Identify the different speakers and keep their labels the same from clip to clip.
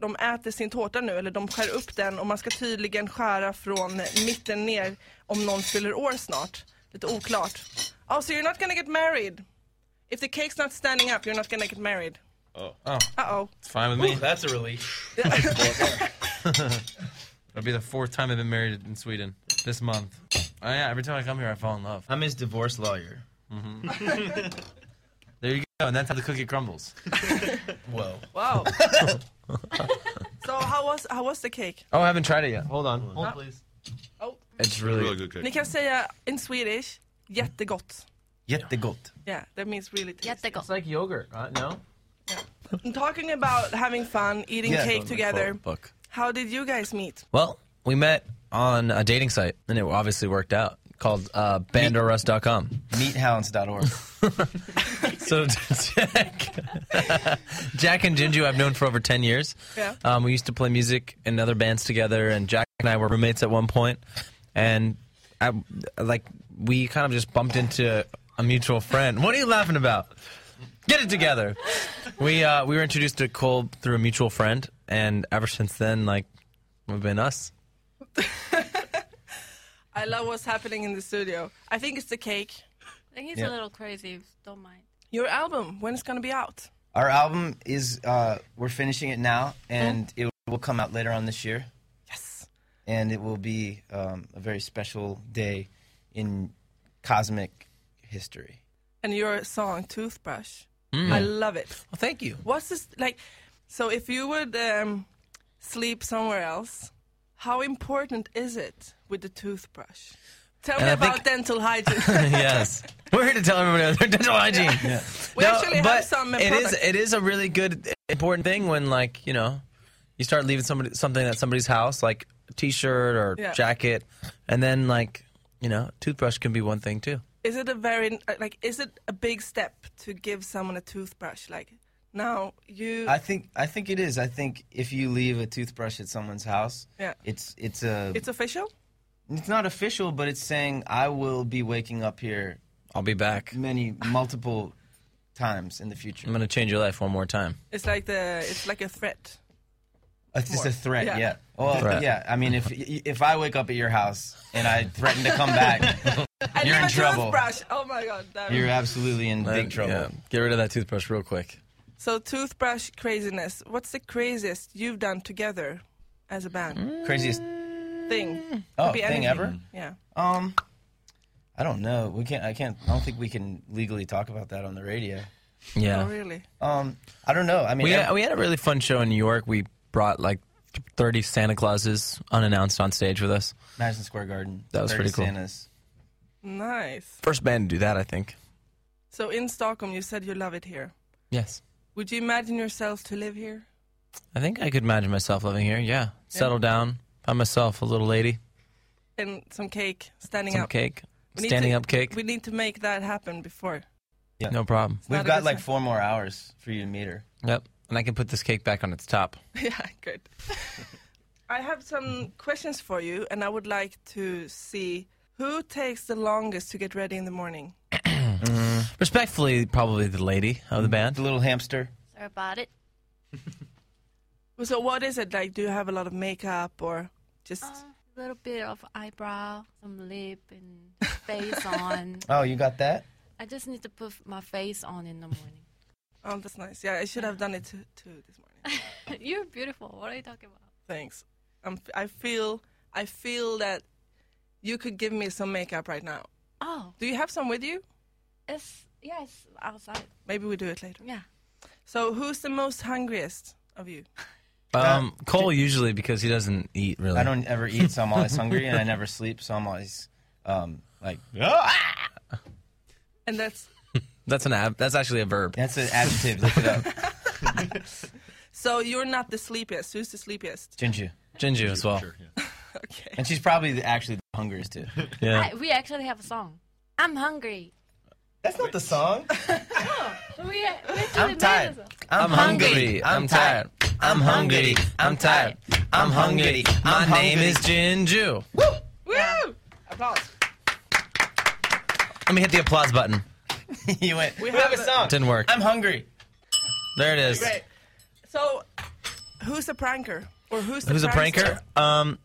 Speaker 1: de äter sin tårta nu, eller de skär upp den och man ska tydligen skära från mitten ner om någon fyller år snart. Lite oklart. Oh, so you're not gonna get married. If the cake's not standing up, you're not gonna get married. Ah. Uh-oh.
Speaker 2: Fine with me. That's a relief. It'll be the fourth time I've been married in Sweden this month. Oh yeah, every time I come here, I fall in love.
Speaker 3: I'm his divorce lawyer.
Speaker 2: There you go, and that's how the cookie crumbles.
Speaker 3: Whoa.
Speaker 1: Wow. so how was, how was the cake?
Speaker 2: Oh, I haven't tried it yet. Hold on. Hold on.
Speaker 3: please.
Speaker 1: Oh.
Speaker 2: It's really, really good.
Speaker 1: Ni kan säga in Swedish, jättegott.
Speaker 2: Jättegott.
Speaker 1: Yeah, that means really tasty.
Speaker 2: It's like yogurt, right? No.
Speaker 1: I'm talking about having fun, eating cake together.
Speaker 2: Book.
Speaker 1: How did you guys meet?
Speaker 2: Well, we met on a dating site, and it obviously worked out. Called uh, bandorust.com.
Speaker 3: Meathounds.org.
Speaker 2: So Jack, Jack and Jinju I've known for over ten years.
Speaker 1: Yeah.
Speaker 2: Um, we used to play music in other bands together, and Jack and I were roommates at one point, and I like we kind of just bumped into a mutual friend. What are you laughing about? Get it together. We uh, we were introduced to Cole through a mutual friend, and ever since then, like we've been us.
Speaker 1: I love what's happening in the studio. I think it's the cake.
Speaker 4: I think he's
Speaker 2: Yeah.
Speaker 4: a little crazy. Don't mind.
Speaker 1: Your album, when it's gonna be out?
Speaker 3: Our album is, uh, we're finishing it now, and
Speaker 2: Mm-hmm.
Speaker 3: it will come out later on this year.
Speaker 1: Yes.
Speaker 3: And it will be um, a very special day in cosmic history.
Speaker 1: And your song Toothbrush.
Speaker 2: Hmm.
Speaker 1: I love it.
Speaker 2: Well, thank you.
Speaker 1: What's this like? So if you would um, sleep somewhere else, how important is it with the toothbrush? Tell me
Speaker 2: And I
Speaker 1: about
Speaker 2: think-
Speaker 1: dental hygiene.
Speaker 2: yes. We're here to tell everybody about their dental hygiene.
Speaker 1: We actually have
Speaker 2: but
Speaker 1: some uh,
Speaker 2: It is
Speaker 1: products.
Speaker 2: it is a really good important thing when like you know you start leaving somebody something at somebody's house like a t-shirt or
Speaker 1: Yeah.
Speaker 2: jacket, and then like you know toothbrush can be one thing too.
Speaker 1: is it a very like? Is it a big step to give someone a toothbrush? Like now you.
Speaker 3: I think I think it is. I think if you leave a toothbrush at someone's house,
Speaker 1: Yeah.
Speaker 3: it's it's a
Speaker 1: it's official.
Speaker 3: it's not official, but it's saying I will be waking up here
Speaker 2: I'll be back.
Speaker 3: many multiple times in the future.
Speaker 2: I'm gonna change your life one more time.
Speaker 1: It's like the. It's like a threat.
Speaker 3: Uh, It's just a
Speaker 1: More.
Speaker 3: threat,
Speaker 1: Yeah.
Speaker 3: yeah. Well,
Speaker 2: Threat.
Speaker 3: yeah. I mean, if y- if I wake up at your house and I threaten to come back, You're
Speaker 1: I leave
Speaker 3: in
Speaker 1: a
Speaker 3: trouble.
Speaker 1: Toothbrush. Oh my god. that-
Speaker 3: you're absolutely in
Speaker 2: Then,
Speaker 3: big trouble.
Speaker 2: yeah, get rid of that toothbrush real quick.
Speaker 1: So toothbrush craziness. What's the craziest you've done together as a band?
Speaker 3: Craziest
Speaker 1: Thing. Could
Speaker 3: Mm. oh,
Speaker 1: be
Speaker 3: thing
Speaker 1: anything.
Speaker 3: ever.
Speaker 1: Yeah.
Speaker 3: Um, I don't know. We can't. I can't. I don't think we can legally talk about that on the radio.
Speaker 2: Yeah.
Speaker 1: Oh really?
Speaker 3: Um, I don't know. I mean,
Speaker 2: We uh,
Speaker 3: ev-
Speaker 2: had, we had a really fun show in New York. We brought like 30 Santa Clauses unannounced on stage with us.
Speaker 3: Madison Square Garden.
Speaker 2: That was
Speaker 3: 30
Speaker 2: pretty cool.
Speaker 3: Santas.
Speaker 1: Nice.
Speaker 2: First band to do that, I think.
Speaker 1: So in Stockholm, you said you love it here.
Speaker 2: Yes.
Speaker 1: Would you imagine yourself to live here?
Speaker 2: I think I could imagine myself living here. Yeah. Settle down by myself, a little lady,
Speaker 1: And some cake, standing
Speaker 2: some
Speaker 1: up.
Speaker 2: cake,
Speaker 1: We need
Speaker 2: standing
Speaker 1: to-
Speaker 2: up cake.
Speaker 1: We need to make that happen before.
Speaker 2: No problem.
Speaker 1: not a
Speaker 3: We've
Speaker 1: good
Speaker 3: got like
Speaker 1: sign.
Speaker 3: four more hours for you to meet her.
Speaker 2: Yep. And I can put this cake back on its top.
Speaker 1: yeah, good. I have some questions for you, and I would like to see who takes the longest to get ready in the morning.
Speaker 2: Respectfully, probably the lady of the
Speaker 3: The
Speaker 2: band.
Speaker 3: little hamster.
Speaker 4: Sorry about it.
Speaker 1: So what is it like? Do you have a lot of makeup or just?
Speaker 4: A little bit of eyebrow, some lip, and face on.
Speaker 3: Oh, you got that?
Speaker 4: I just need to put my face on in the morning.
Speaker 1: Oh, that's nice. Yeah, I should have done it too, too this morning.
Speaker 4: You're beautiful. What are you talking about?
Speaker 1: Thanks. I'm, f- I feel I feel that you could give me some makeup right now.
Speaker 4: Oh,
Speaker 1: Do you have some with you?
Speaker 4: it's yeah, it's outside.
Speaker 1: Maybe we do it later.
Speaker 4: Yeah.
Speaker 1: So who's the most hungriest of you?
Speaker 2: Um, Cole usually because he doesn't eat really.
Speaker 3: I don't ever eat, so I'm always hungry, and I never sleep, so I'm always um, like
Speaker 1: And that's
Speaker 2: That's an ab- that's actually a verb.
Speaker 3: that's an adjective. Look it up,
Speaker 1: so you're not the sleepiest. Who's the sleepiest?
Speaker 3: Jinju.
Speaker 2: Jinju as well.
Speaker 1: Okay.
Speaker 3: And she's probably the, actually hunger is too.
Speaker 2: Yeah.
Speaker 4: I, we actually have a song. I'm hungry.
Speaker 3: That's not the song.
Speaker 4: We, we actually
Speaker 3: I'm tired.
Speaker 4: made a song.
Speaker 3: I'm hungry.
Speaker 2: I'm tired. I'm hungry. I'm tired. I'm hungry. My name is Jinju.
Speaker 1: Woo! Applause.
Speaker 2: Let me hit the applause button.
Speaker 3: you went. We have a song.
Speaker 2: Didn't work.
Speaker 3: I'm hungry.
Speaker 2: There it is.
Speaker 1: Great. So, who's a pranker? Or who's the
Speaker 2: Who's a
Speaker 1: prankster?
Speaker 2: pranker? Um,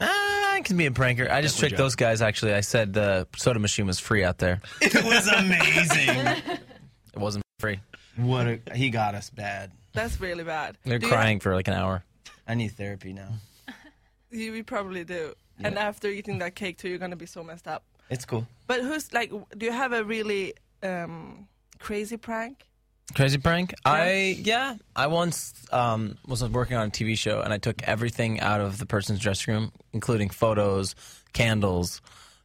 Speaker 2: ah, I can be a pranker. I just tricked those guys. Actually, I said the soda machine was free out there.
Speaker 3: It was amazing.
Speaker 2: It wasn't free.
Speaker 3: what a, he got us bad.
Speaker 1: That's really bad.
Speaker 2: They're
Speaker 1: Do you-
Speaker 2: crying for like an hour.
Speaker 3: I need therapy now.
Speaker 1: You, you probably do. And after eating that cake too, you're gonna be so messed up.
Speaker 3: It's cool.
Speaker 1: But who's like? w- Do you have a really um, crazy prank?
Speaker 2: Crazy prank? I yeah. I once um, was working on a TV show and I took everything out of the person's dressing room, including photos, candles,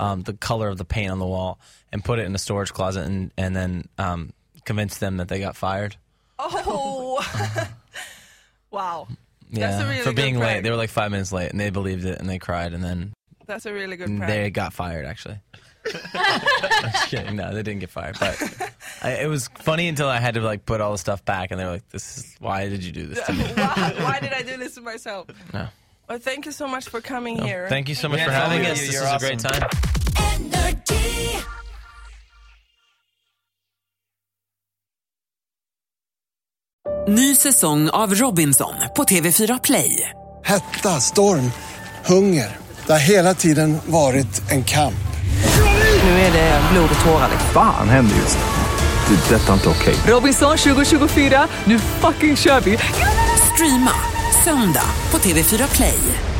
Speaker 2: um, the color of the paint on the wall, and put it in a storage closet and and then um, convinced them that they got fired.
Speaker 1: Oh, wow!
Speaker 2: Yeah,
Speaker 1: That's a really
Speaker 2: for
Speaker 1: good
Speaker 2: being late.
Speaker 1: prank.
Speaker 2: They were like five minutes late and they believed it and they cried and then
Speaker 1: That's a really good prank.
Speaker 2: Mm, they got fired actually. I'm just kidding. No, they didn't get fired, but. I, it was funny until I had to like put all the stuff back, and they were like, "This is why did you do this to me?"
Speaker 1: why, why did I do this to myself?
Speaker 2: No.
Speaker 1: Well, thank you so much for coming
Speaker 2: No,
Speaker 1: here.
Speaker 2: Thank you so much
Speaker 3: Yeah,
Speaker 2: for
Speaker 3: no,
Speaker 2: having
Speaker 3: you-
Speaker 2: us. This
Speaker 3: you're
Speaker 2: was a great
Speaker 3: awesome.
Speaker 2: time.
Speaker 5: Ny säsong av Robinson på TV4 Play.
Speaker 6: Hetta, storm, hunger. Det har hela tiden varit en kamp.
Speaker 5: Nu är det blod och tårar.
Speaker 7: Fan händer just nu. Det. är Detta är inte okej.
Speaker 5: Robinson 2024, nu fucking kör vi! Streama söndag på TV4 Play.